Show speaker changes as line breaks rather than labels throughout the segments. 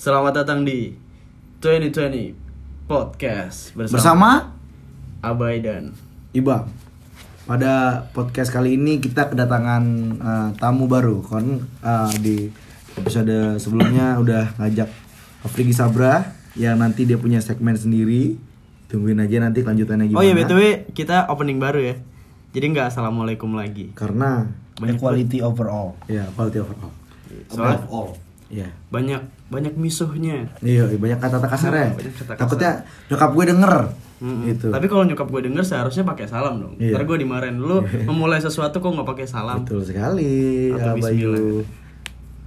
Selamat datang di 2020 Podcast bersama,
Bersama
Abai dan
Iba. Pada podcast kali ini kita kedatangan eh, tamu baru. Kon eh, di episode sebelumnya udah ngajak Afriki Sabra yang nanti dia punya segmen sendiri. Tungguin aja nanti kelanjutannya gimana.
Oh iya btw kita opening baru ya. Jadi nggak assalamualaikum lagi.
Karena
Equality overall.
ya quality overall.
Soalnya
All.
Iya.
banyak banyak misuhnya.
Iya, banyak kata-kata kasar ya.
Banyak kata kasar.
Takutnya nyokap gue denger.
Mm-mm.
Gitu.
Tapi kalau nyokap gue denger seharusnya pakai salam dong.
Iya.
Ntar gue dimarahin lu memulai sesuatu kok nggak pakai salam.
Betul sekali,
Atau
Abayu.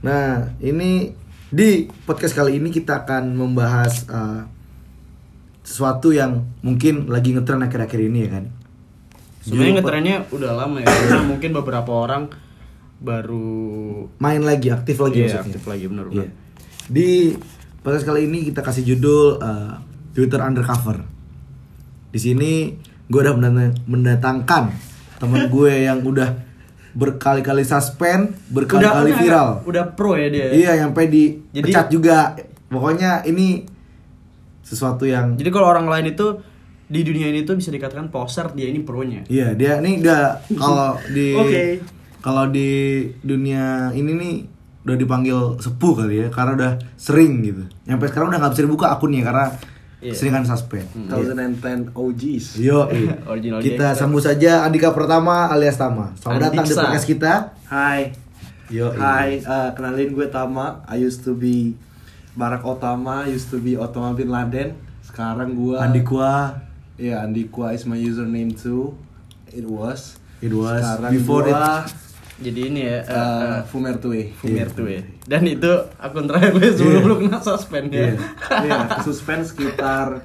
Nah, ini di podcast kali ini kita akan membahas uh, sesuatu yang mungkin lagi ngetren akhir-akhir ini ya kan.
Sebenarnya
Jujur,
ngetrennya udah lama ya. Karena mungkin beberapa orang baru
main lagi, aktif lagi
Iya,
maksudnya.
aktif lagi bener
Iya.
bener.
Di podcast kali ini kita kasih judul uh, Twitter Undercover. Di sini gue udah mendata- mendatangkan temen gue yang udah berkali-kali suspend, berkali-kali
udah-
viral.
Udah pro ya dia.
Iya, yang sampai dipecat
Jadi-
juga. Pokoknya ini sesuatu yang
Jadi kalau orang lain itu di dunia ini tuh bisa dikatakan poser, dia ini pro-nya.
iya dia ini udah kalau di
Oke.
kalau di dunia ini nih udah dipanggil sepuh kali ya karena udah sering gitu. Yang sampai sekarang udah nggak bisa dibuka akunnya karena
Iya.
seringan suspend.
2010 OGs.
Yo,
Original
kita
gangster.
sambut saja Andika pertama alias Tama. Selamat datang di
Andiksa.
podcast kita.
Hai.
Yo, iya.
Hai, eh, kenalin gue Tama. I used to be Barack Otama, used to be Otama bin Laden. Sekarang gue
Andikwa.
Iya, Andikwa is my username too. It was.
It was.
Sekarang
Before
gua,
Jadi ini ya
eh, Fumertue.
Fumir tuh ya. Dan itu akun terakhir gue sebelum lu kena suspend ya.
Iya.
Iya, suspend sekitar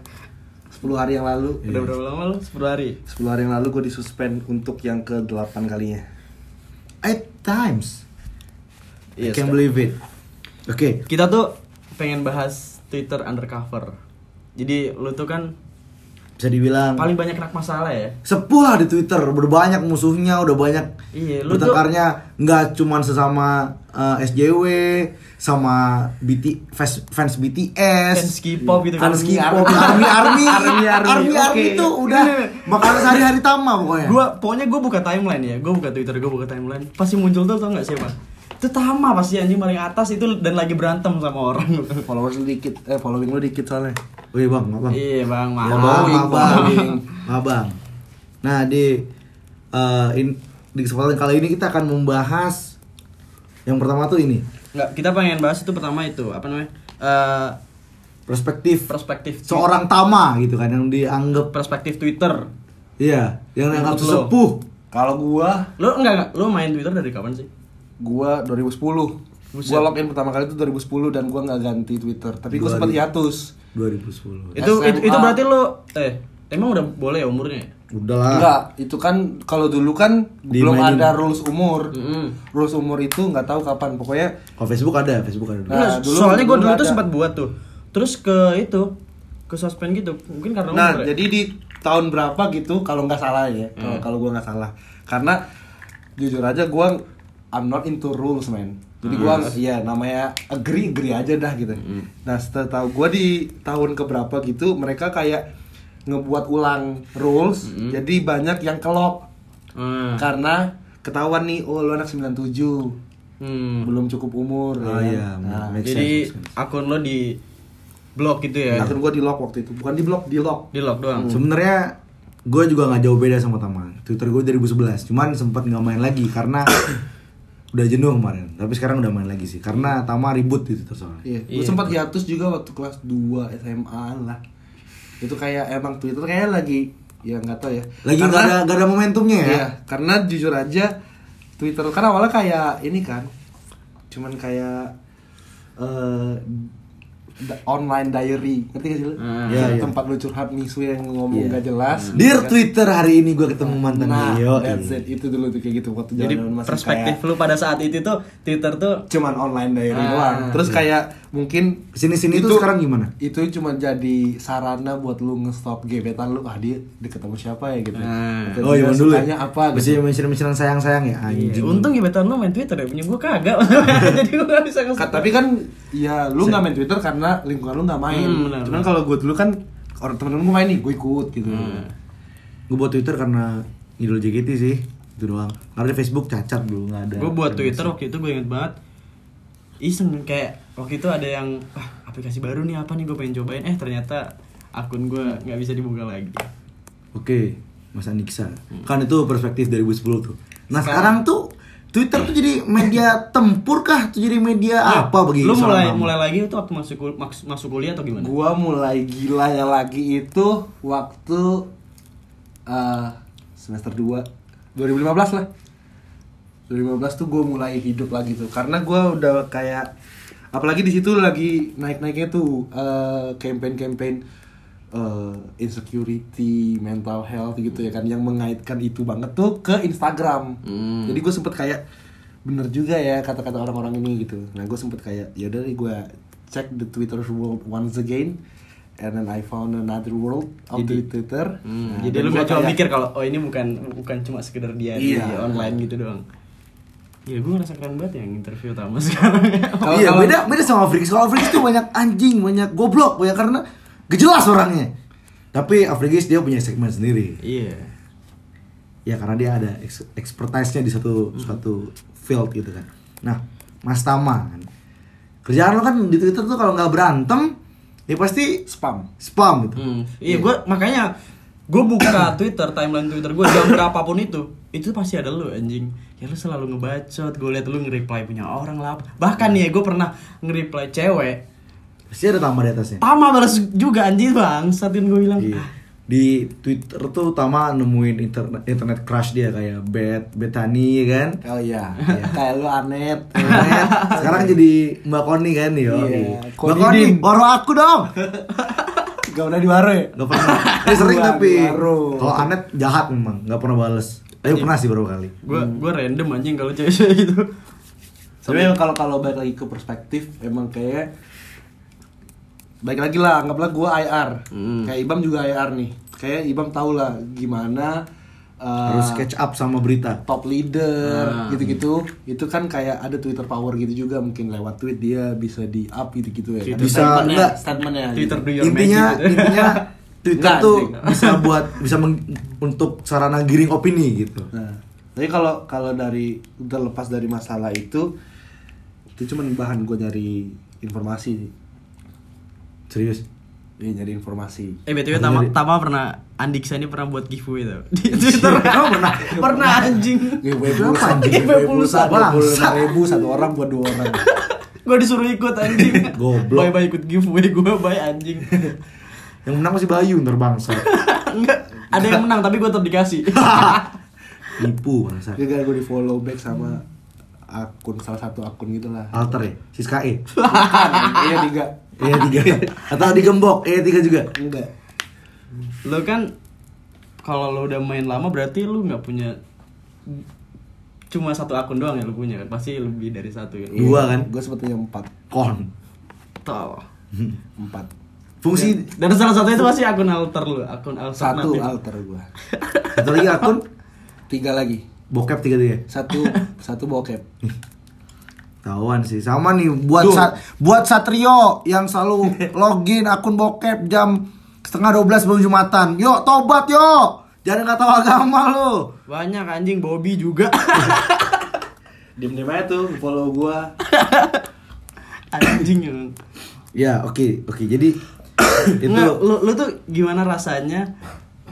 10 hari yang lalu.
Udah berapa lama lu? 10 hari.
10 hari yang lalu gue disuspend untuk yang ke-8 kalinya.
Eight times.
Iya,
I can't
Ustaz.
believe it. Oke.
Kita tuh pengen bahas Twitter undercover. Jadi lu tuh kan
bisa dibilang
paling banyak kena masalah ya.
sepuh lah di Twitter udah banyak musuhnya udah banyak
Iya, lu
bertengkarnya nggak cuman sesama eh, SJW sama BT, fans, fans BTS
Fans K-pop gitu kan.
fans K-pop army army army army, army
oke.
itu udah makanan sehari-hari tama pokoknya
Gua pokoknya gue buka timeline ya. Gue buka Twitter, gue buka timeline. Pasti muncul tuh tau gak siapa? Itu Tama pasti anjing paling atas itu dan lagi berantem sama orang.
Followers lu dikit, eh following lu dikit soalnya.
Wih Oh bang, maaf bang.
Iya, Bang, maaf.
Ya, bang,
Maaf,
maaf, bang.
Bang.
Maaf, Bang. Nah di eh, in- di kesempatan kali ini kita akan membahas yang pertama tuh ini
Nggak, kita pengen bahas itu pertama itu apa namanya? Eh,
perspektif
perspektif
seorang tama gitu kan yang dianggap
perspektif Twitter.
iya yang dianggap
Menurut lo?
sesepuh
Kalau gua
Lo enggak enggak, lo main Twitter dari kapan sih?
gua 2010
Buset.
gua login pertama kali itu 2010 dan gua nggak ganti Twitter tapi gua sempat hiatus
2010
Itu itu,
SMA.
itu berarti lo eh emang udah boleh ya umurnya?
udah lah
enggak itu kan kalau dulu kan
Ah. Di
belum
mainin.
ada rules umur
Mm.
rules umur itu nggak tahu kapan pokoknya
kalau Facebook ada Facebook ada dulu.
Nah, dulu-
soalnya gue
dulu
dulu tuh
ada.
sempat buat tuh. Terus ke itu ke suspend gitu. Mungkin karena
nah
umur. ya? Hmm.
jadi di tahun berapa gitu kalau nggak salah ya kalau kalau gua nggak salah karena jujur aja gua I'm not into rules man jadi gua
Hmm.
ya namanya agree agree aja dah gitu nah setahu gua di tahun keberapa gitu mereka kayak ngebuat ulang rules jadi banyak yang kelop
Hmm.
karena ketahuan nih oh lu anak 97
Hmm.
belum cukup umur
Oh,
kan?
iya,
Nah,
make
Jadi
sense, make
akun lo di blok gitu ya.
akhirnya Nah, gua di lock waktu itu bukan di block di lock
Di lock doang.
Hmm,
sebenarnya gue juga nggak jauh beda sama Tama Twitter gue 2011 cuman sempat nggak main lagi karena udah jenuh kemarin tapi sekarang udah main lagi sih karena Tama ribut di Twitter soalnya
Iya, gue
Iya.
sempat hiatus juga waktu kelas 2 SMA lah. Itu kayak emang Twitter kayak lagi ya nggak tahu ya.
lagi nggak ada nggak ada momentumnya ya
Iya, karena jujur aja Twitter kan awalnya kayak ini kan. Cuman kayak eh da- online diary ngerti gak sih lu?
Iya, iya.
tempat lu curhat misu yang ngomong
Iya.
gak jelas
Dear Twitter hari ini gue ketemu mantan iya.
nah
Yo,
that's it itu dulu tuh kayak gitu waktu
Jadi
zaman-zaman masih
perspektif
kayak
lu pada saat itu tuh Twitter tuh
cuman online
Ah.
diary doang terus kayak mungkin
Kesini-sini tuh sekarang gimana?
Iya. itu cuma jadi sarana buat lu nge-stop gebetan lu ah dia deket sama siapa ya gitu
Ah.
Atau
Oh
dia
iya dulu
sukanya
ya.
apa gitu. Iya.
Masih mention-mention sayang-sayang ya anjing.
untung gebetan lu main Twitter ya punya gua kagak jadi gua gak bisa
Ka-
nge-stalk.
tapi kan ya lu nggak main Twitter karena lingkungan lu nggak main.
Hmm, benar.
Cuman kalau gue dulu kan orang temen-temen gue main nih, gue ikut gitu.
Ah.
Gue buat Twitter karena idol JKT sih. Itu doang. Karena di Facebook cacat dulu nggak ada.
gue buat Twitter waktu itu gue inget banget iseng kayak waktu itu ada yang ah, aplikasi baru nih apa nih gue pengen cobain eh ternyata akun gue nggak bisa dibuka lagi
Oke, Mas Aniksa.
Hmm.
Kan itu perspektif 2010 tuh. Nah, sekarang, tuh Twitter tuh jadi media tempur kah? Tuh jadi media apa bagi
Iya, lu
seorang
mulai
kamu?
mulai lagi itu waktu masuk kul- maks- masuk kuliah atau gimana
Gue mulai gilanya lagi itu waktu eh, semester 2 2015 lah. 2015 tuh gue mulai hidup lagi tuh karena gue udah kayak apalagi di situ lagi naik-naiknya tuh eh, campaign-campaign eh, insecurity, mental health gitu ya kan yang mengaitkan itu banget tuh ke Instagram.
Hmm.
Jadi gue sempet kayak bener juga ya kata-kata orang-orang ini gitu. Nah gue sempet kayak ya dari gue cek the Twitter world once again and then I found another world of the Twitter. Nah,
Hmm. jadi
dan
lu
gua
gak cuma
kayak-
mikir kalau oh ini bukan bukan cuma sekedar dia
Iya.
di online gitu doang ya gue ngerasa keren banget yang interview tamu sekarang
Kalau-
iya,
kalau-
beda beda sama Afrikis. Kalau Afrikis tuh banyak anjing, banyak goblok, banyak karena gejelas orangnya. Tapi Afrikis dia punya segmen sendiri.
iya
Ya karena dia ada ex- expertise-nya di satu
Hmm.
suatu field gitu kan. Nah, Mas Tama kan. Kerjaan lo kan di Twitter tuh kalau nggak berantem, ya pasti
spam.
spam gitu.
Hmm, iya gue makanya gue buka Twitter timeline Twitter gue jam berapapun itu itu pasti ada lu anjing ya lu selalu ngebacot gue liat lu nge-reply punya orang lah apa. bahkan nih ya gue pernah nge-reply cewek
Pasti ada Tama di atasnya.
Tama balas juga anjing bang satin gue bilang
Iya.
"Ah,
Di Twitter tuh Tama nemuin internet internet crush dia kayak Bet Betani ya kan.
Oh iya, kayak lu anet.
Internet. Sekarang jadi Mbak Koni kan yo.
Iya,
Mbak
Koni
Koni,
Din.
baru aku dong.
Gak udah di baru ya?
Gak pernah. Dia sering
Baru,
tapi
baru.
kalau Anet jahat memang, gak pernah bales. Ayo
Iya.
pernah sih baru kali.
gue gue random anjing kalau cewek gitu
Tapi emang kalau kalau balik lagi ke perspektif, emang kayak baik lagi lah, anggaplah gua IR.
Hmm.
Kayak Ibam juga IR nih. Kayak Ibam tau lah gimana
Ah.
uh,
Harus catch up sama berita.
top leader gitu-gitu. Itu kan kayak ada Twitter power gitu juga mungkin lewat tweet dia bisa di up gitu-gitu ya. kan?
Twitter
Bisa,
Statementnya-
enggak.
statementnya gitu.
Twitter do your
Intinya
magic gitu.
intinya Twitter
Enggak,
tuh
anjing.
bisa buat bisa meng- untuk sarana giring opini gitu.
Nah, tapi kalau kalau dari udah lepas dari masalah itu, itu cuman bahan gue nyari informasi, sih.
Serius.
Iya, nyari informasi.
eh btw Tama Tama pernah Andiksa ini pernah buat giveaway tau di Twitter pernah pernah anjing
Giveaway
Kenapa,
Iya, pulsa,
anjing?
giveaway pulsa,
Bangsa.
25 ribu satu orang buat dua orang.
gue disuruh ikut anjing
Goblok.
bye bye ikut giveaway gue bye anjing
Yang menang masih Bayu ntar bangsa.
enggak ada yang menang tapi gue tetap dikasih
Ibu bangsa.
Iya, Gara-gara gue di follow back sama akun salah satu akun gitulah.
Alter ya? Siska E?
iya tiga,
Iya tiga Atau digembok? Iya tiga juga?
enggak.
lo kan kalau lo udah main lama berarti lo nggak punya cuma satu akun doang ya lo punya kan pasti lebih dari satu ya
Dua kan?
Gue sepertinya empat,
Kon
Tau.
empat.
Fungsi
dan salah satu itu pasti akun alter lo akun
Satu
alternatif
alter gue,
Iya.
Satu lagi akun
tiga lagi,
Bokep tiga tiga
satu satu bokep.
Tahuan sih Sama nih Buat
Duh.
Sat- buat Satrio Yang selalu login akun bokep jam Setengah 12 belum Jumatan Yuk tobat yuk Jangan nggak tahu agama lo
banyak anjing Bobby juga
Diem-diem aja tuh follow gue.
anjing ya.
Ya oke oke jadi Itu
Nggak, lu, lu tuh gimana rasanya?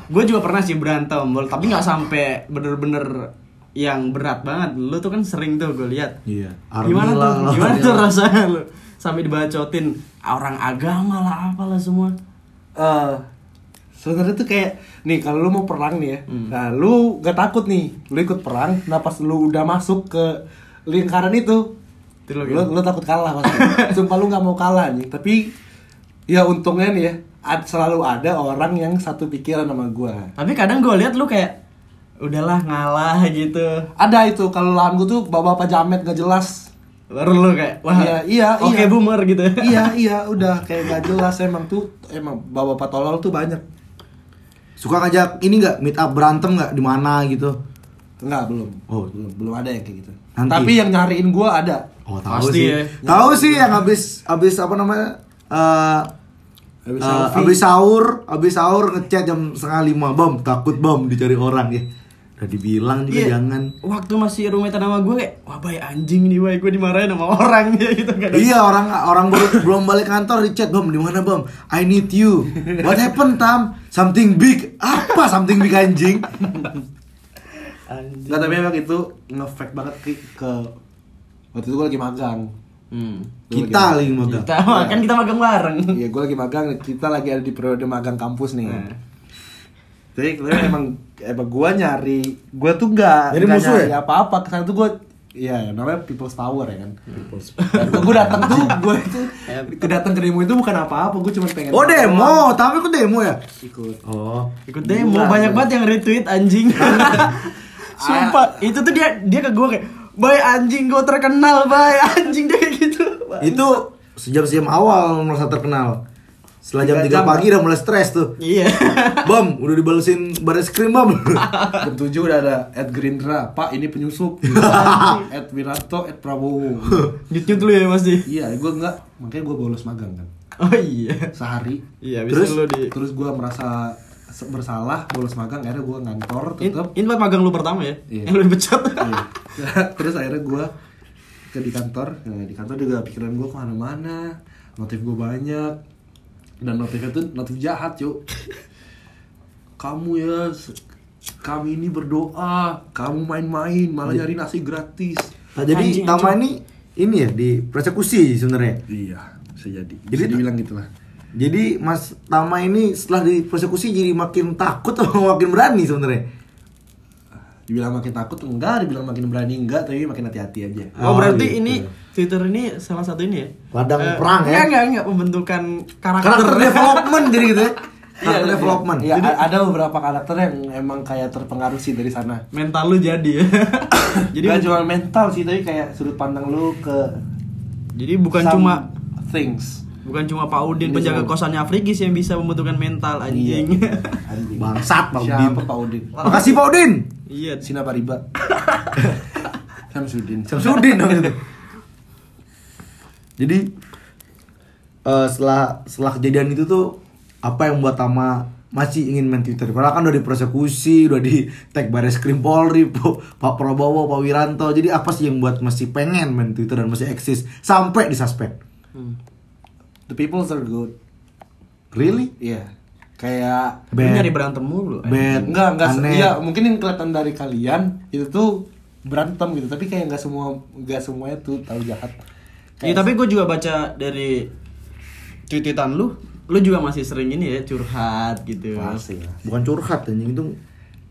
Gue juga pernah sih berantem, Bol, tapi nggak sampai bener-bener yang berat banget. Lu tuh kan sering tuh gue lihat.
Iya Army
Gimana
lah,
tuh?
lah.
Gimana tuh rasanya lu? Sampai dibacotin orang agama lah apalah semua.
eh sebenarnya tuh kayak nih kalau lu mau perang nih ya nah lu gak takut nih lu ikut perang nah pas lu udah masuk ke lingkaran itu
Itu lu
lu, lu takut kalah pasti sumpah lu gak mau kalah nih tapi ya untungnya nih ya ad- selalu ada orang yang satu pikiran sama gua
Tapi kadang gue lihat lu kayak udahlah ngalah gitu.
ada itu kalau lahan gua tuh bapak-bapak jamet gak jelas
Baru lu kayak wah.
Iya, iya,
Oke
iya.
boomer gitu.
iya iya udah kayak gak jelas emang tuh emang bapak-bapak tolol tuh banyak
Suka ngajak ini nggak meet up berantem nggak di mana gitu?
enggak belum
Oh.
belum belum ada yang kayak gitu
Nanti.
tapi yang nyariin gua ada
Oh tahu
Pasti
sih.
ya.
Tahu sih yang habis habis apa namanya? eh
Habis
habis,
selfie.
habis sahur, habis sahur ngechat jam setengah lima bom, takut bom dicari orang ya. Udah dibilang juga
Iya.
jangan.
Waktu masih rumetan sama gue kayak wah bay anjing nih bay gue dimarahin sama orang ya gitu kadang.
Iya orang orang baru- belum balik kantor di chat bom di mana bom? I need you. What happened Tam? Something big. Apa something big anjing?
Anjing.
Nggak, tapi emang itu ngefek banget ke, ke waktu itu gue lagi magang.
Hmm.
Gua
Kita
lagi
lagi magang.
Kita kan kita magang bareng.
Iya, gue lagi magang. Kita lagi ada di periode magang kampus nih.
Nah.
Jadi sebenarnya emang emang gue nyari, gue tuh nggak
Jadi
nggak
musuh
nyari
ya?
apa-apa. Kesana tuh gue Iya, namanya People's Power ya kan. gue datang tuh, gue itu kedatang ke demo itu bukan apa-apa, gue cuma pengen.
Oh demo, Tam ikut demo ya?
Ikut.
Oh.
Ikut demo banyak banget yang retweet anjing.
Ah.
Sumpah, itu tuh dia dia ke gue kayak, "Bay anjing gue terkenal, bay anjing dia kayak gitu."
Itu sejam-sejam awal merasa terkenal. Setelah jam
Tiga
3
jam.
pagi udah mulai stres tuh.
Iya.
Bom, udah dibalesin baris krim bom. Nah,
Jam 7 udah ada Ed Gerindra, Pak ini penyusup. Ed Wiranto, Ed Prabowo.
Nyut-nyut lu ya masih.
Iya, gue nggak, makanya gue bolos magang kan.
Oh iya.
Sehari,
Iya,
Terus?
bisa lu di
terus gue merasa se- bersalah, bolos magang, akhirnya gue ngantor,
Ini,
tutup.
ini buat magang lu pertama ya?
Iya.
Yang lu dipecat.
Iya. terus akhirnya gue ke di kantor, Nah, di kantor juga pikiran gue kemana-mana, notif gue banyak, dan notifnya tuh notif jahat yuk. Kamu ya, se- kami ini berdoa, kamu main-main, malah nyari nasi gratis.
Nah, jadi
Anjing,
Tama ini ini ya di persekusi sebenarnya.
Iya, bisa jadi.
Jadi
Bisa dibilang gitu lah.
Jadi Mas Tama ini setelah di persekusi jadi makin takut atau makin berani sebenarnya.
Dibilang makin takut enggak, dibilang makin berani enggak, tapi makin hati-hati aja.
Oh,
Oh,
berarti
gitu.
ini Twitter ini salah satu ini ya?
Ladang
Eh,
perang ya?
Enggak, enggak, enggak pembentukan karakter.
Karakter development jadi gitu ya. Karakter
Iya,
development.
Iya, a- ada beberapa karakter yang emang kayak terpengaruh sih dari sana.
Mental lu jadi ya.
Jadi
jadi
gak cuma mental sih, tapi kayak sudut pandang lu ke
jadi bukan
some
cuma
things.
bukan cuma Pak Udin
Ini
penjaga
cuma-
kosannya Afrikis yang bisa pembentukan mental anjing.
Iya. Anjing.
Bangsat Pak Udin.
Siapa Pak Udin?
Makasih Pak Udin.
Iya.
Sina Pariba. Samsudin.
Samsudin dong itu. Jadi eh, setelah setelah kejadian itu tuh apa yang membuat Tama masih ingin main Twitter? Padahal kan udah dipersekusi, udah di tag Baris Krim Polri, Po- Pak Prabowo, Pak Wiranto. Jadi apa sih yang buat masih pengen main Twitter dan masih eksis sampai disuspend?
Hmm.
The people are good.
Really?
Iya. Kayak
Lu nyari berantem mulu. anjing.
bad,
enggak enggak se-
aneh.
iya mungkin yang kelihatan dari kalian itu tuh berantem gitu tapi kayak enggak semua enggak semuanya tuh tahu jahat
Iya, tapi gue juga baca dari tweet-tweetan lu, lu juga masih sering ini ya curhat gitu.
pasti lah
Bukan curhat anjing itu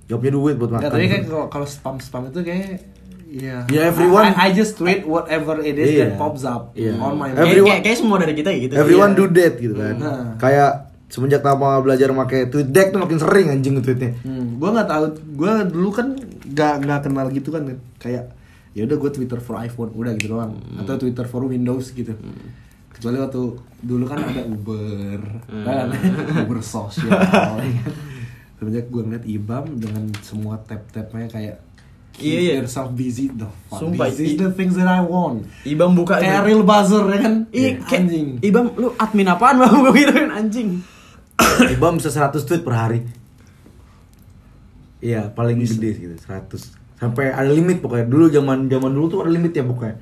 jawabnya duit buat makan.
Nggak, Ya, tapi kayak kalau kalau spam spam itu kayak Iya.
Yeah, everyone-
I, I just tweet whatever it is
Iya.
that pops up
Iya.
on my
Kayak,
Everyone-
kayak, kayak semua dari kita ya gitu.
Everyone
Iya.
do that gitu kan.
Hmm.
Kayak semenjak Tama belajar make tweet deck tuh makin sering anjing tweetnya.
Hmm, gue nggak tahu. Gue dulu kan nggak nggak kenal gitu kan kayak ya udah gue Twitter for iPhone udah gitu doang atau Twitter for Windows gitu. Kecuali waktu dulu kan ada Uber, kan? Uber sosial. Semenjak gue ngeliat IBAM dengan semua tab-tabnya kayak
Iya,
keep
iya.
yourself busy the fuck.
Sumpah,
This is
i-
the things that I want.
Ibam buka
Kayak
itu.
real buzzer ya kan?
Iya, kayak-
anjing.
Ibam lu admin apaan bang? Gue kirain anjing.
Ibam bisa 100 tweet per hari. Iya, paling gede gitu, 100. Sampai ada limit pokoknya. Dulu zaman zaman dulu tuh ada limit ya pokoknya.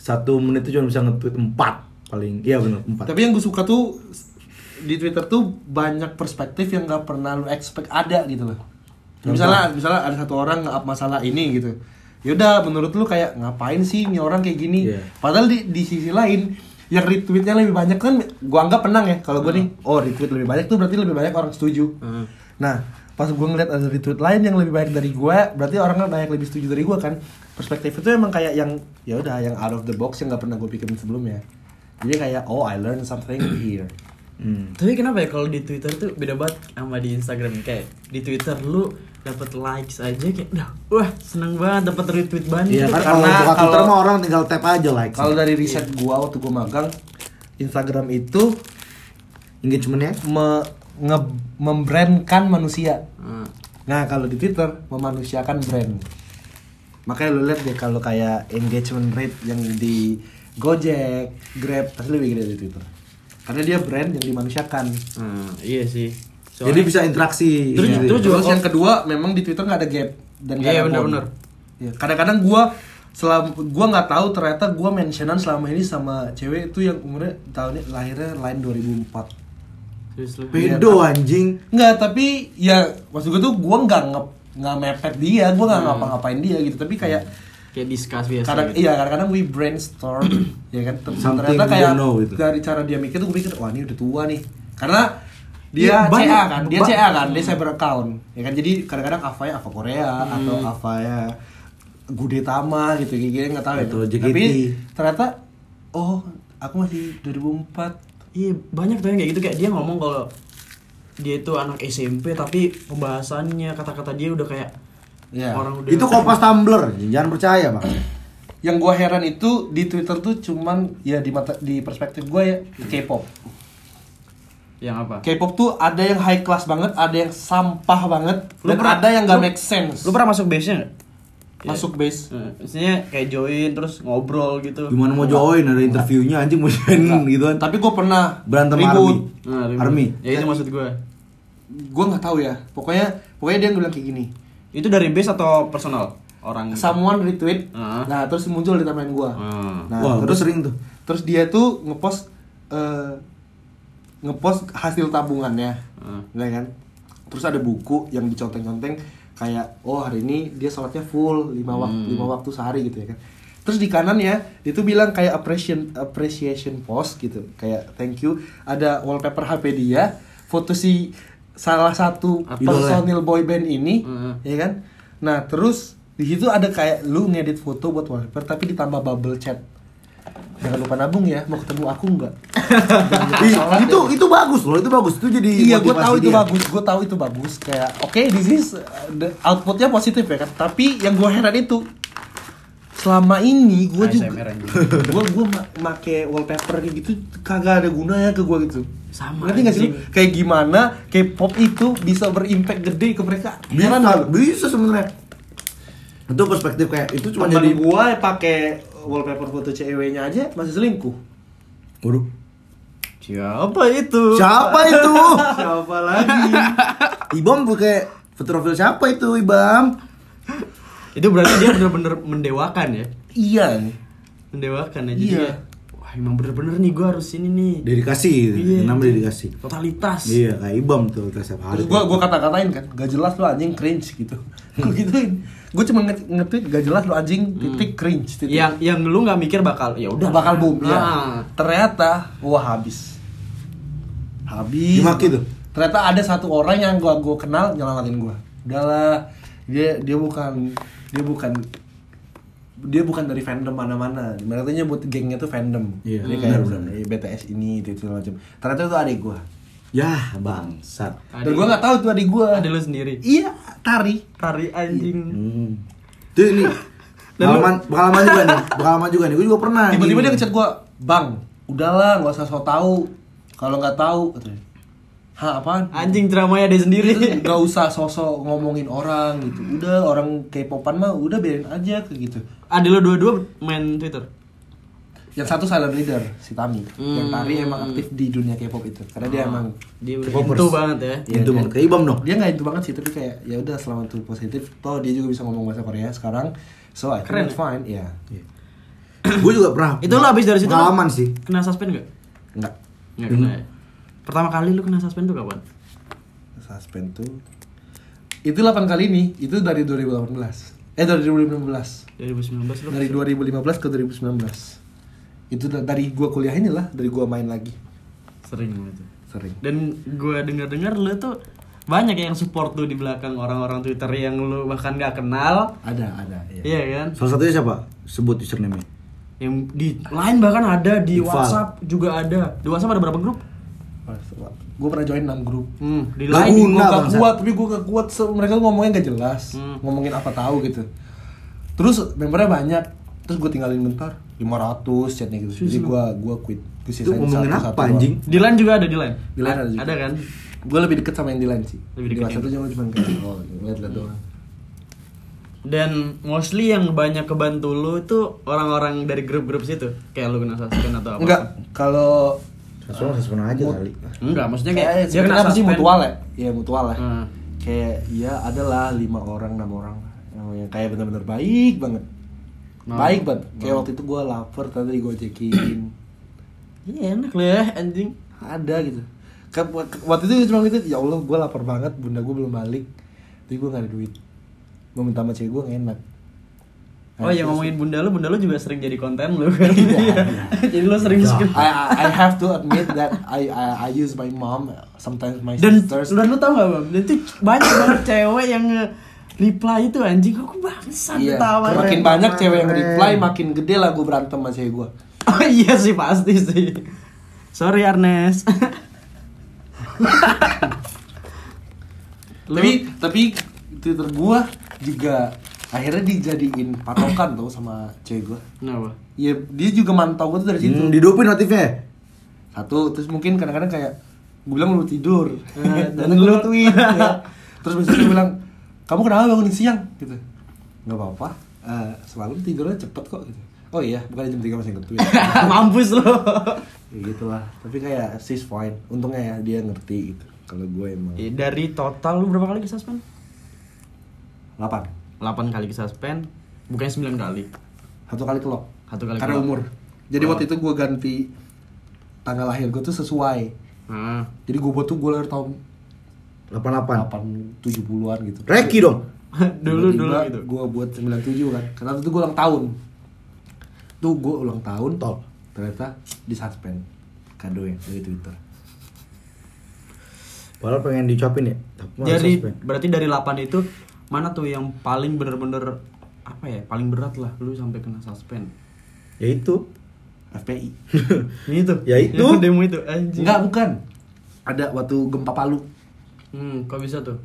Satu menit tuh cuma bisa nge-tweet 4 paling. Iya benar, 4.
Tapi yang gue suka tuh di Twitter tuh banyak perspektif yang gak pernah lu expect ada gitu loh. Misalnya misalnya ada satu orang nge-up masalah ini gitu. Yaudah menurut lu kayak ngapain sih ini orang kayak gini?
Iya.
Padahal di, di sisi lain yang retweetnya lebih banyak kan gua anggap menang ya kalau gua nih oh retweet lebih banyak tuh berarti lebih banyak orang setuju. Nah pas gua ngeliat ada retweet lain yang lebih banyak dari gua berarti orangnya banyak lebih setuju dari gua kan perspektif itu emang kayak yang ya udah yang out of the box yang nggak pernah gua pikirin sebelumnya. Jadi kayak oh I learned something here.
Hmm.
Tapi kenapa ya kalau di Twitter tuh beda banget sama di Instagram kayak di Twitter lu dapat likes aja kayak "Dah, wah seneng banget dapat retweet banget.
Iya kan
Karena
kalau buka Twitter
kalau-
mah orang tinggal tap aja like.
Kalau dari riset gua waktu gua magang, Instagram itu
engagementnya
me nge- membrandkan manusia.
Nah,
Nah, kalau di Twitter memanusiakan brand. Makanya lu lihat deh kalau kayak engagement rate yang di Gojek, Grab pasti lebih gede di Twitter. Karena dia brand yang dimanusiakan.
nah, iya sih.
Jadi bisa interaksi.
Terus-
gitu.
terus juga
Iya. Terus yang kedua memang di Twitter nggak ada gap dan nggak
Iya,
ada bond.
benar-benar.
Iya, kadang-kadang gua selam gua nggak tahu ternyata gua mentionan selama ini sama cewek itu yang umurnya tahunnya lahirnya lain 2004.
Terus lu-
pedo anjing.
Nggak, tapi ya maksud gue tuh gue nggak nge nggak mepet dia, gue
Hmm.
nggak ngapa-ngapain dia gitu. Tapi kayak
kayak discuss biasa.
kadang
gitu.
iya kadang-kadang we brainstorm ya kan. Ter-
Something
ternyata kayak
you know gitu.
dari cara dia mikir tuh gue mikir wah ini udah tua nih. Karena
Iya,
dia
banyak-
CA kan, dia
ba-
CA kan, dia cyber account ya kan. Jadi kadang-kadang avaya ava Korea atau
Hmm.
avaya Gudetama gitu gitu nggak tahu ya.
Atau JKT.
Tapi ternyata oh aku masih 2004
Iya banyak tuh yang kayak gitu kayak dia ngomong kalau dia itu anak SMP tapi pembahasannya kata-kata dia udah kayak
ya.
orang udah
Itu kompas tumbler, jangan percaya bang.
yang gua heran itu di Twitter tuh cuman ya di mata di perspektif gua ya K-pop.
yang apa?
K-pop tuh ada yang high class banget, ada yang sampah banget,
Lu
dan
pernah-
ada yang gak
lu-
make sense. Iya.
Lu pernah masuk base-nya nggak?
masuk base.
Nah, Maksudnya kayak join terus ngobrol gitu.
Gimana mau join ada interviewnya anjing mau join
Hmm,
gitu kan.
Tapi gua pernah
Berantem
ribut.
army.
Nah, ribut.
Army.
Ya itu maksud gue.
Gua nggak tahu ya. Pokoknya pokoknya dia bilang kayak gini.
Itu dari base atau personal orang?
Someone retweet.
Heeh.
Nah, terus muncul di timeline gua.
Hmm.
Nah,
Wah, terus
terus
sering tuh.
terus dia tuh ngepost eh, ngepost hasil tabungannya
Hmm.
ya kan terus ada buku yang diconteng-conteng kayak oh hari ini dia sholatnya full lima waktu
Hmm.
lima waktu sehari gitu ya kan terus di kanannya dia tuh bilang kayak appreciation appreciation post gitu kayak thank you ada wallpaper HP dia foto si salah satu
Idolnya.
personil boyband ini
Hmm.
ya kan nah terus di situ ada kayak lu ngedit foto buat wallpaper tapi ditambah bubble chat jangan lupa nabung ya mau ketemu aku nggak
Ih, itu itu bagus loh, itu bagus. Itu jadi
iya gue
motivasi
tahu itu
dia.
bagus gue tahu itu bagus kayak oke this is uh, the outputnya positif ya kan tapi yang gue heran itu selama ini gue
ASMR
juga
anjing.
gue gue ma- make wallpaper kayak gitu kagak ada gunanya ke gue gitu
Sama,
ngerti nggak sih lu?
anjing.
kayak gimana K-pop itu bisa berimpact gede ke mereka
Bisa,
Heran nggak lu?
bisa sebenarnya. Itu perspektif kayak itu cuma
Temen
jadi
gua pakai wallpaper foto ceweknya aja masih selingkuh.
Waduh.
Siapa itu?
Siapa itu?
Siapa lagi?
Ibam pakai foto profil siapa itu Ibam?
Itu berarti dia bener-bener mendewakan ya?
iya nih.
Mendewakan ya.
Iya.
Jadi kayak, Wah emang bener-bener nih gue harus ini nih.
Dedikasi, gitu.
Iya.
namanya dedikasi.
Totalitas.
Iya, kayak Ibam tuh kita setiap hari.
Terus gua gua kata-katain kan, gak jelas lu anjing cringe gitu. Gua gituin. Gua cuma nge- nge-tweet gak jelas lu anjing titik cringe titik.
Yang yang lu nggak mikir bakal ya udah
bakal boom ya.
Ah.
Ternyata wah habis. Habis.
Dimaki tuh?
Ternyata ada satu orang yang gua gua kenal nyelamatin gua. Udahlah, dia dia bukan dia bukan dia bukan dari fandom mana-mana. Mereka tuh nyebut gengnya tuh fandom.
Iya,
Dia kayak
benar, benar.
eh, BTS ini itu, itu macam. Ternyata itu adik gua.
Yah, Ya, bangsat.
Dan gua nggak tahu itu adik gua.
Ada lu sendiri.
Iya, tari.
Tari anjing.
Hmm. Tuh ini pengalaman pengalaman juga nih, pengalaman juga nih. Gue juga pernah.
tiba-tiba
nih. Iya,
dia ngechat gua bang udahlah nggak usah so tau kalau nggak tahu katanya hah apaan
Anjing dramanya dia sendiri.
Itu nggak usah sosok ngomongin orang gitu udah orang K-popan mah udah biarin aja kayak gitu
Ada lu dua-dua main Twitter.
yang satu silent leader si Tami
Hmm.
yang
Ah.
tari emang aktif di dunia K-pop itu karena dia emang
Dia
Nah, K-popers.
itu banget ya.
Iya,
itu
kan?
mau ke Ibam dong.
dia nggak itu banget sih tapi kayak ya udah selama itu positif toh dia juga bisa ngomong bahasa Korea sekarang so I
Keren.
think it's fine ya
gue juga pernah.
Itu lu habis dari situ. lu
Pengalaman sih.
Kena suspend enggak?
nggak
Enggak kena ya. Pertama kali lu kena suspend tuh kapan?
suspend tuh itu 8 kali ini itu dari 2018 eh dari 2016
2019 lu.
dari 2015 ke 2019 itu da- dari gua kuliah inilah dari gua main lagi
sering lu itu.
sering
Dan gua dengar-dengar lu tuh banyak yang support tuh di belakang orang-orang Twitter yang lu bahkan gak kenal.
ada ada iya.
Iya kan?
Salah satunya siapa? Sebut username-nya.
Yang di lain bahkan ada di
Ival.
WhatsApp juga ada. Di WhatsApp ada berapa grup?
gue pernah join 6 grup
Hmm, di
Lah,
live
gua-
gue
Guna,
gak
bangsat.
kuat tapi gue gak kuat So, mereka ngomongnya gak jelas
Hmm.
ngomongin apa tahu gitu terus membernya banyak terus gue tinggalin bentar 500 chatnya gitu jadi gue gue quit gue
Itu ngomongin apa, anjing?
di line juga ada di line.
Di line ada juga.
Ada kan?
gue lebih deket sama yang di lain sih
Lebih
di
deket
WhatsApp tuh cuma cuma kayak oh lihat lihat doang
Dan mostly yang banyak kebantu lu itu orang-orang dari grup-grup situ. Kayak lu kena suspend atau apa?
enggak kalau
Respon respon aja
Mut-
kali.
Enggak, maksudnya Ya, kayak
kayak
dia kena
kenapa sih
suspend.
mutual ya iya mutual ya
Hmm.
kayak ya adalah lima orang enam orang yang yang kayak benar-benar baik banget
Nah.
baik banget kayak waktu itu gue lapar tadi gue cekin
Iya, enak lu ya anjing.
ada gitu Ke- ke- waktu itu cuma gitu ya allah gue lapar banget bunda gue belum balik jadi gue nggak ada duit gue minta sama cewek gue nggak enak
Oh iya ngomongin bunda lu, bunda lu juga sering jadi konten lu kan.
Iya.
jadi lu sering screen.
I, I I have to admit that I, I I use my mom sometimes my
Dan
sisters
dan lu tau gak bang? Dan itu banyak banget cewek yang nge- reply itu anjing aku bangsat
Iya,
ketawa.
makin
Keren,
banyak cewek yang
keren.
reply makin gede lah gue berantem sama cewek gue
Oh iya sih pasti sih. Sorry Arnes. Lu-
tapi tapi twitter gue juga akhirnya dijadiin patokan tuh sama cewek gue
Kenapa?
ya dia juga mantau gue tuh dari situ
Hmm, didupin notifnya.
satu terus mungkin kadang-kadang kayak gue bilang lu tidur
Eh,
dan
dan
lu
lu-
tweet ya. terus besok dia bilang kamu kenapa bangun siang gitu nggak apa-apa eh, selalu tidurnya cepet kok gitu oh iya bukan jam tiga masih nge-tweet
Mampus lu.
ya gitu lah tapi kayak she's fine untungnya ya dia ngerti gitu kalau gue emang
Eh, Dari total lu berapa kali disuspend?
delapan
8 kali disuspend, bukannya 9 kali.
satu kali kelok
Satu kali
karena
kelok.
umur jadi
Oh.
waktu itu gue ganti tanggal lahir gue tuh sesuai
Nah,
jadi gue buat tuh gue lahir tahun
88.
8 70-an gitu
Reki dong.
dulu dulu gitu.
gue buat 97 kan karena waktu itu gue ulang tahun tuh gue ulang tahun
Tol.
ternyata di suspend kadonya dari twitter
Padahal pengen diucapin ya. Tapi malah
Jadi
suspend.
berarti dari 8 itu mana tuh yang paling bener-bener apa ya paling berat lah lu sampai kena suspend
ya itu.
FPI
ini tuh
Ya itu.
demo itu anjing
enggak bukan ada waktu gempa Palu
hmm kok bisa tuh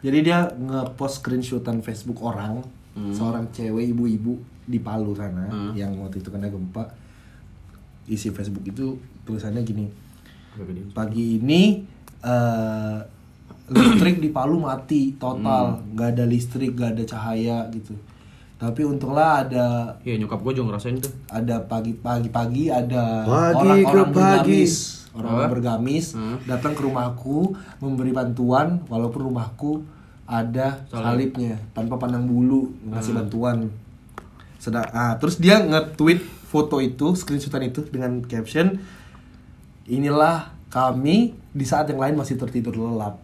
Jadi dia ngepost screenshotan Facebook orang, seorang cewek ibu-ibu di Palu sana
Hmm.
yang waktu itu kena gempa. Isi Facebook itu tulisannya gini, pagi ini eh, listrik di Palu mati total, nggak ada listrik, nggak ada cahaya gitu. Tapi untunglah ada
Iya nyokap gue juga ngerasain tuh
ada pagi-pagi-pagi ada
Pagi
orang-orang
ke pagi.
bergamis orang
Apa?
bergamis
Hmm.
datang ke rumahku memberi bantuan walaupun rumahku ada
Salib. Hmm.
salibnya tanpa pandang bulu ngasih bantuan sedang ah terus dia nge-tweet foto itu screenshotan itu dengan caption inilah kami di saat yang lain masih tertidur lelap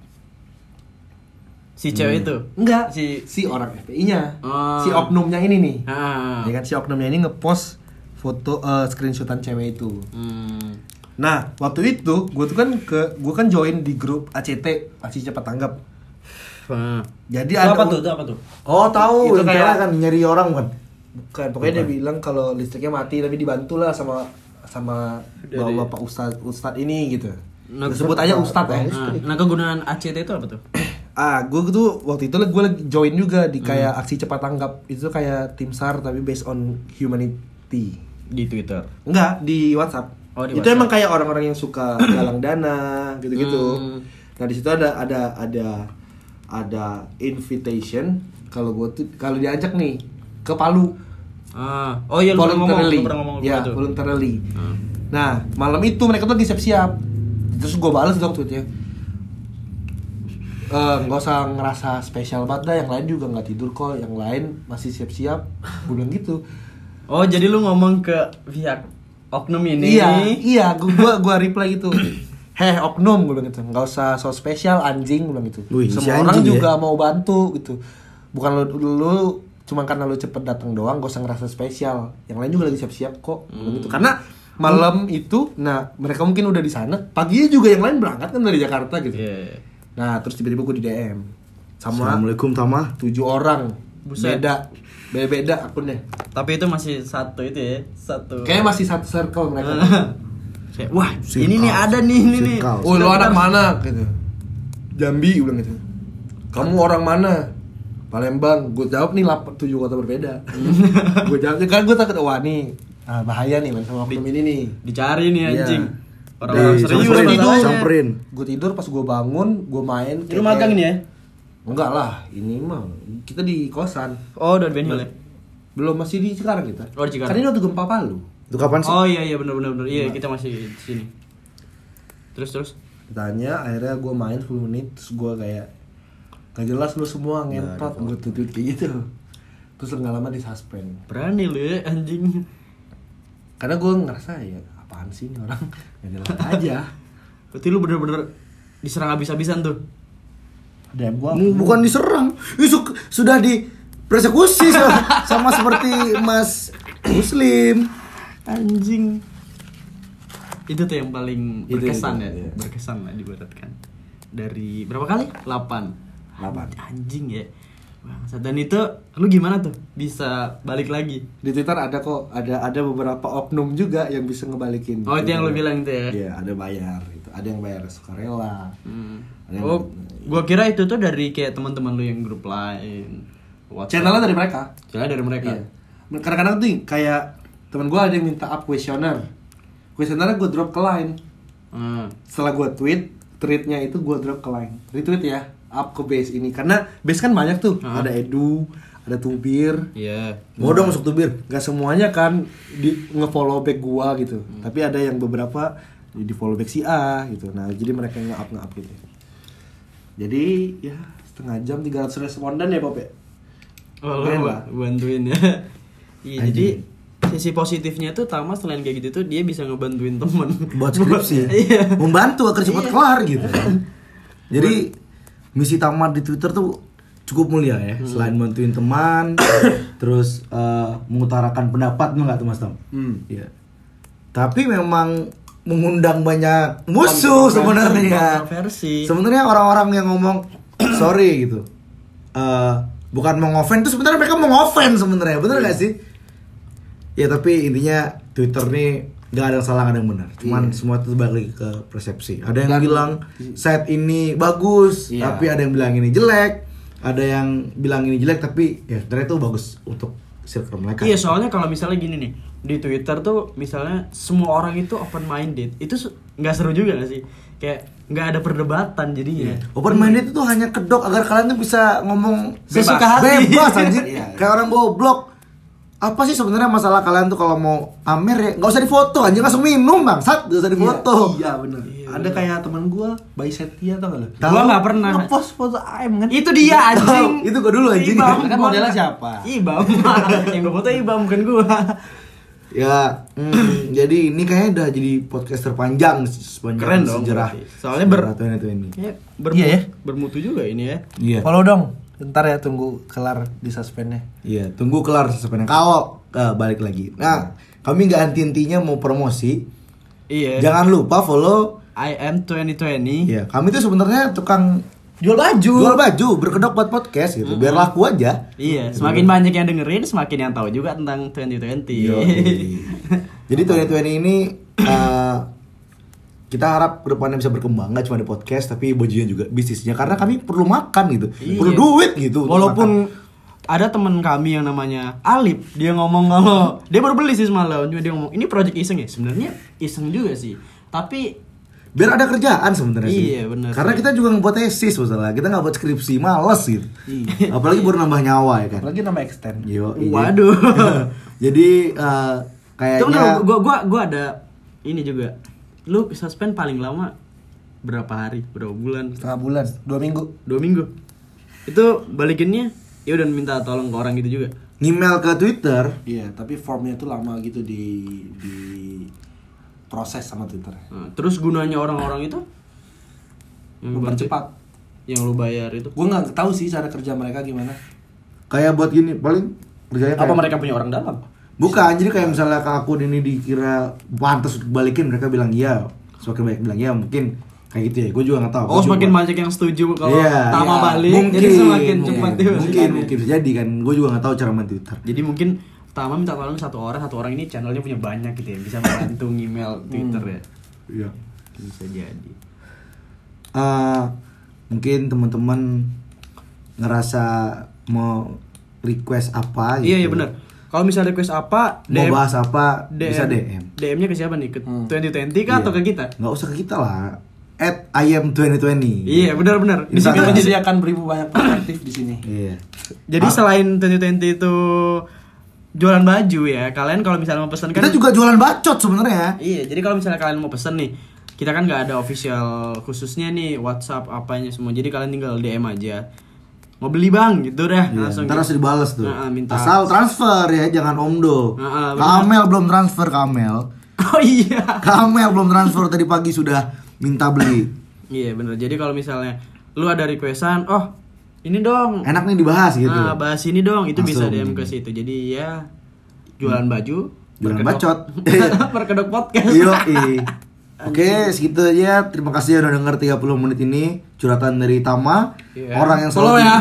si cewek itu
enggak
Hmm. Si-
si si orang FPI-nya
Ah.
si oknumnya ini nih
ah
ya kan si oknumnya ini ngepost foto eh, screenshotan cewek itu
hmm.
Nah, waktu itu gue tuh kan ke gue kan join di grup ACT, Aksi Cepat Tanggap.
Ah. Itu
Jadi ada
apa
un-
tuh Itu apa tuh
Oh, tahu.
Itu
Itu
kayak-
kayak kan nyari orang kan.
Bukan, pokoknya dia bilang kalau listriknya mati tapi dibantu lah sama sama bawa Pak Ustad Ustad ini gitu.
Nah,
Nah, sebut aja Ustad ya.
Ah, nah kegunaan ACT itu apa tuh
Ah, gue tuh waktu itu gue lagi join juga di kayak
Hmm.
aksi cepat tanggap itu kayak tim sar tapi based on humanity.
di Twitter
Enggak, di WhatsApp.
Oh, di
itu
WhatsApp.
emang kayak orang-orang yang suka galang dana gitu-gitu.
Hmm.
Nah, di situ ada ada ada ada invitation kalau gua tuh kalau diajak nih ke Palu.
ah oh iya lu pernah ngomong lu pernah ngomong Ah.
ya,
gua tuh
voluntarily. Nah, malam itu mereka tuh lagi siap-siap. Terus gua balas dong tweetnya. Eh, nggak usah ngerasa spesial banget dah, yang lain juga nggak tidur kok, yang lain masih siap-siap. Gue bilang gitu.
oh jadi lu ngomong ke pihak oknum ini
Iya, iya, gua gua, gua reply gitu. Heh, oknum gue bilang gitu. Nggak usah so spesial anjing gue bilang gitu.
Wih, si
Semua orang
anjing ya.
juga mau bantu gitu. Bukan lu, lu cuma karena lu cepet datang doang gak usah ngerasa spesial. Yang lain juga lagi siap-siap kok. Gua bilang
Hmm.
Gitu. Karena malam itu nah mereka mungkin udah di sana, paginya juga yang lain berangkat kan dari Jakarta gitu.
Iya.
Nah, terus tiba-tiba gue di DM sama
Assalamualaikum Tama.
tujuh orang.
Buset.
Beda beda akunnya.
Tapi itu masih satu itu ya, satu.
Kayaknya masih satu circle mereka.
Kayak, wah
Sirkaus.
ini nih ada nih ini nih.
Sirkaus.
Oh, lu
Sudah,
anak
bentar.
mana? Gitu. Jambi bilang gitu. Kamu orang mana? Palembang. Gue jawab nih lap, tujuh kota berbeda. gue jawabnya kan gue takut wah nih ah, bahaya nih men sama oknum ini nih.
Dicari nih
Iya.
anjing. Orang-orang
Di-
serius
Campurin,
masalahnya.
campurin.
Gue tidur pas gue bangun, gue main.
Ini Lu magang nih ya?
Enggak lah, ini mah kita di kosan.
Oh, dan Benhil ya?
Belum masih di Cikarang kita.
Oh, di Cikarang.
Karena ini waktu gempa Palu.
Itu kapan sih?
Oh iya iya benar benar benar. Iya, kita masih di sini. Terus terus.
Ditanya, akhirnya gue main 10 menit, terus gue kayak gak jelas lu semua ngentot gue tutut kayak gitu. Terus nggak lama di suspend.
Berani lu ya anjing.
Karena gue ngerasa ya apaan sih ini orang gak jelas aja.
Berarti lu bener-bener diserang habis-habisan tuh.
Dan gue
Hmm, Bukan diserang. Itu sudah di persekusi sama, sama seperti Mas Muslim.
Anjing. Itu tuh yang paling
Itu,
berkesan
itu,
ya,
iya.
berkesan lah dibuatkan. Dari berapa kali? 8.
Delapan.
Anjing ya. Bangsat. Dan itu lu gimana tuh bisa balik lagi?
di Twitter ada kok ada ada beberapa oknum juga yang bisa ngebalikin.
Oh, itu yang lu bilang itu ya?
Iya ada bayar gitu, ada yang bayar sukarela. Ada yang-
Oh, gua kira itu tuh dari kayak teman-teman lu yang grup lain. WhatsApp.
Channelnya dari mereka.
Channelnya dari mereka.
Iya. Kadang-kadang tuh kayak temen gue ada yang minta up kuesioner. Kuesionernya gue drop ke line.
Hmm.
Setelah gue tweet, tweetnya itu gue drop ke line. Retweet ya, up ke base ini. Karena base kan banyak tuh.
Ah.
Ada Edu, ada Tubir.
Iya.
Mau dong masuk tubir.
Gak semuanya kan di ngefollow back gua gitu. Tapi ada yang beberapa di di follow back si A gitu. Nah, jadi mereka nge up nge up gitu. Jadi ya setengah jam 300 responden ya Pop ya?
Oh, lu
Keren lah.
ba- bantuin ya. Iya, jadi sisi positifnya tuh Tama selain kayak gitu tuh dia bisa ngebantuin temen
buat skripsi
Iya.
membantu agar cepat kelar gitu jadi misi tamat di twitter tuh cukup mulia ya selain bantuin teman terus eh, mengutarakan pendapat tuh nggak tuh mas tam Iya. tapi memang mengundang banyak musuh sebenarnya
Kontroversi.
sebenarnya orang-orang yang ngomong sorry gitu eh, bukan mau ngoven tuh sebenarnya mereka mau ngoven sebenarnya bener nggak sih ya tapi intinya Twitter nih nggak ada yang salah nggak ada yang benar cuman semua itu balik lagi ke persepsi ada yang bilang set ini bagus
Iya.
tapi ada yang bilang ini jelek ada yang bilang ini jelek tapi ya sebenarnya itu bagus untuk circle mereka
Iya soalnya kalau misalnya gini nih di Twitter tuh misalnya semua orang itu open minded itu se- nggak seru juga gak sih kayak nggak ada perdebatan jadinya
Open minded itu hanya kedok agar kalian tuh bisa ngomong
Sesuka hati.
bebas anjir.
Iya, iya.
Kayak orang goblok. Apa sih sebenarnya masalah kalian tuh kalau mau Amer ya nggak usah difoto anjir langsung minum bangsat nggak usah difoto.
Iya, bener. ada kayak teman gua, Bayi Setia tau gak lo?
Tahu.
Gua nggak pernah.
Ngepost foto AM kan?
itu dia anjing
Itu gua dulu, anjing.
Ibam.
Kan modelnya siapa?
Ibam yang gue foto Ibam bukan gua
Ya, mm, jadi ini kayaknya udah jadi podcast terpanjang se- sepanjang
Keren dong,
sejarah.
berarti. Soalnya ber-
sejarah 2020.
Kayak
Iya ya.
bermutu juga ini ya
Iya.
Follow dong. Ntar ya tunggu kelar di suspendnya.
Iya, tunggu kelar sebenarnya. Kalau eh, balik lagi. Nah, kami nggak anti-intinya mau promosi.
iya
Jangan lupa follow
I am 2020
Iya, kami tuh sebenarnya tukang
Jual baju.
jual baju, berkedok buat podcast gitu. Biar laku aja.
Iya, semakin banyak yang dengerin, semakin yang tahu juga tentang 2020.
Yoi. Jadi 2020 ini eh, kita harap kedepannya bisa berkembang nggak cuma di podcast tapi bajunya juga bisnisnya karena kami perlu makan gitu,
Iya.
perlu duit gitu. untuk makan.
Walaupun ada teman kami yang namanya Alip, dia ngomong kalau
Hmm.
dia baru beli sih semalam, cuma dia ngomong ini project iseng ya. Sebenarnya iseng juga sih, tapi
biar ada kerjaan sebenarnya sih.
Iya, benar.
Karena kita juga ngebuat tesis masalah, kita nggak buat skripsi, males gitu. Apalagi baru nambah nyawa ya kan.
Apalagi nama extend.
Yo,
Iya.
iya.
Waduh.
Jadi eh, kayaknya
Tunggu dulu, gua gua gua ada ini juga. Lu suspend paling lama berapa hari? Berapa bulan?
Setengah bulan, dua minggu.
Dua minggu. Itu balikinnya ya udah minta tolong ke orang gitu juga.
email ke Twitter
Iya, tapi formnya tuh lama gitu di di proses sama Twitter.
Nah, terus gunanya orang-orang itu yang lu bantu-
Mempercepat.
yang lu bayar itu
Gue nggak tahu sih cara kerja mereka gimana.
kayak buat gini paling kerjanya kayak-
apa mereka punya orang dalam?
bukan jadi kayak misalnya ke akun ini dikira pantas untuk balikin mereka bilang iya semakin banyak bilang iya mungkin kayak gitu ya gue juga nggak tahu
Oh,
Gua
semakin
juga-
banyak yang setuju kalau
Iya,
Tama
iya.
balik,
mungkin,
jadi semakin
mungkin,
cepat dia
mungkin, mungkin
balikannya.
bisa jadi kan gue juga nggak tahu cara main Twitter
Jadi mungkin
Hmm. Ah,
Tama minta tolong satu orang, satu orang ini channelnya punya banyak gitu ya, bisa membantu email Twitter ya.
Iya.
bisa jadi
Eh, mungkin teman-teman ngerasa mau request apa
iya iya benar kalau misalnya request apa
gitu. Mau bahas apa
DM,
bisa Hmm. DM.
DM nya ke siapa nih ke 2020 kah atau ke kita
Iya. Nggak usah ke kita lah. At I am 2020.
iya benar-benar di situ
Instagram.
Kita
aja sih.
menyediakan beribu banyak perspektif di sini.
Iya.
jadi selain 2020 itu jualan baju ya kalian kalau misalnya mau pesan kan
Kita juga jualan bacot sebenarnya.
Iya, jadi kalau misalnya kalian mau pesen nih, kita kan nggak ada official khususnya nih WhatsApp apanya semua. Jadi kalian tinggal DM aja. Mau beli bang, gitu deh
Iya,
langsung.
ntar harus
gitu.
dibales tuh.
Nah, minta.
Asal transfer ya, jangan omdo.
Nah, benar.
Kamel belum transfer Kamel.
Oh iya.
Kamel belum transfer tadi pagi sudah minta beli.
Iya bener. Jadi kalau misalnya lu ada requestan, oh ini dong.
Enak nih dibahas gitu.
Nah, bahas ini dong. Itu bisa
Langsung.
DM
Hmm.
ke situ. Jadi ya jualan baju,
Jualan
berkedok- Iya.
bacot. Iya,
berkedok podcast.
Yo, Oke, segitu aja. Terima kasih udah denger 30 menit ini curhatan dari Tama.
Iya.
Orang yang
Follow
selalu
ya.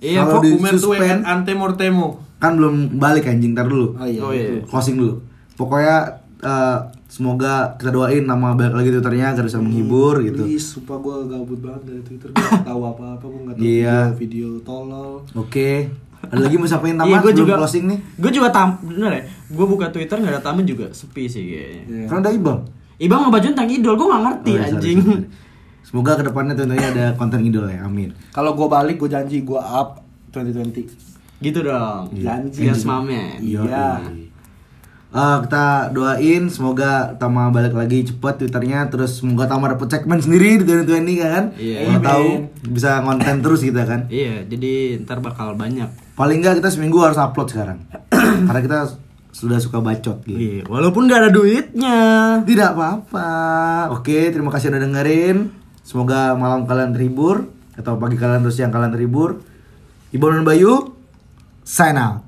Iya,
Iya,
kalau
follow
di
Umer tuh
suspend
ante mortemo.
kan belum balik anjing ntar dulu.
Oh iya.
Oh iya.
Closing dulu. Pokoknya eh, semoga kita doain nama balik lagi twitternya agar bisa menghibur gitu.
Please, Hmm. sumpah gue gabut banget dari Twitter Gue gak tau apa-apa, gue gak tau
Iya.
video, video tolol
Oke. Ada lagi mau sampaikan Tama
Iya, gue
sebelum
juga
closing nih?
Gue juga tam, bener ya. Gue buka Twitter nggak ada taman juga sepi sih kayaknya.
Iya.
Karena ada Ibang.
Ibang mau baju tentang idol, gue gak ngerti
Oh, iya, sorry,
anjing.
sorry. Semoga kedepannya tentunya ada konten idol ya, amin.
Kalau gue balik, gue janji gue up 2020
Gitu dong.
Janji.
Yes, mamen.
Iya.
Eh, kita doain semoga Tama balik lagi cepet twitternya terus semoga Tama dapet segmen sendiri di 2020 kan
Iya.
Mana
Amin.
tahu bisa konten terus kita kan
Iya, jadi ntar bakal banyak.
paling nggak kita seminggu harus upload sekarang karena kita sudah suka bacot gitu
Iya, walaupun gak ada duitnya.
Tidak apa-apa. Oke, terima kasih udah dengerin. Semoga malam kalian terhibur atau pagi kalian terus siang kalian terhibur. Ibu dan Bayu, sign out.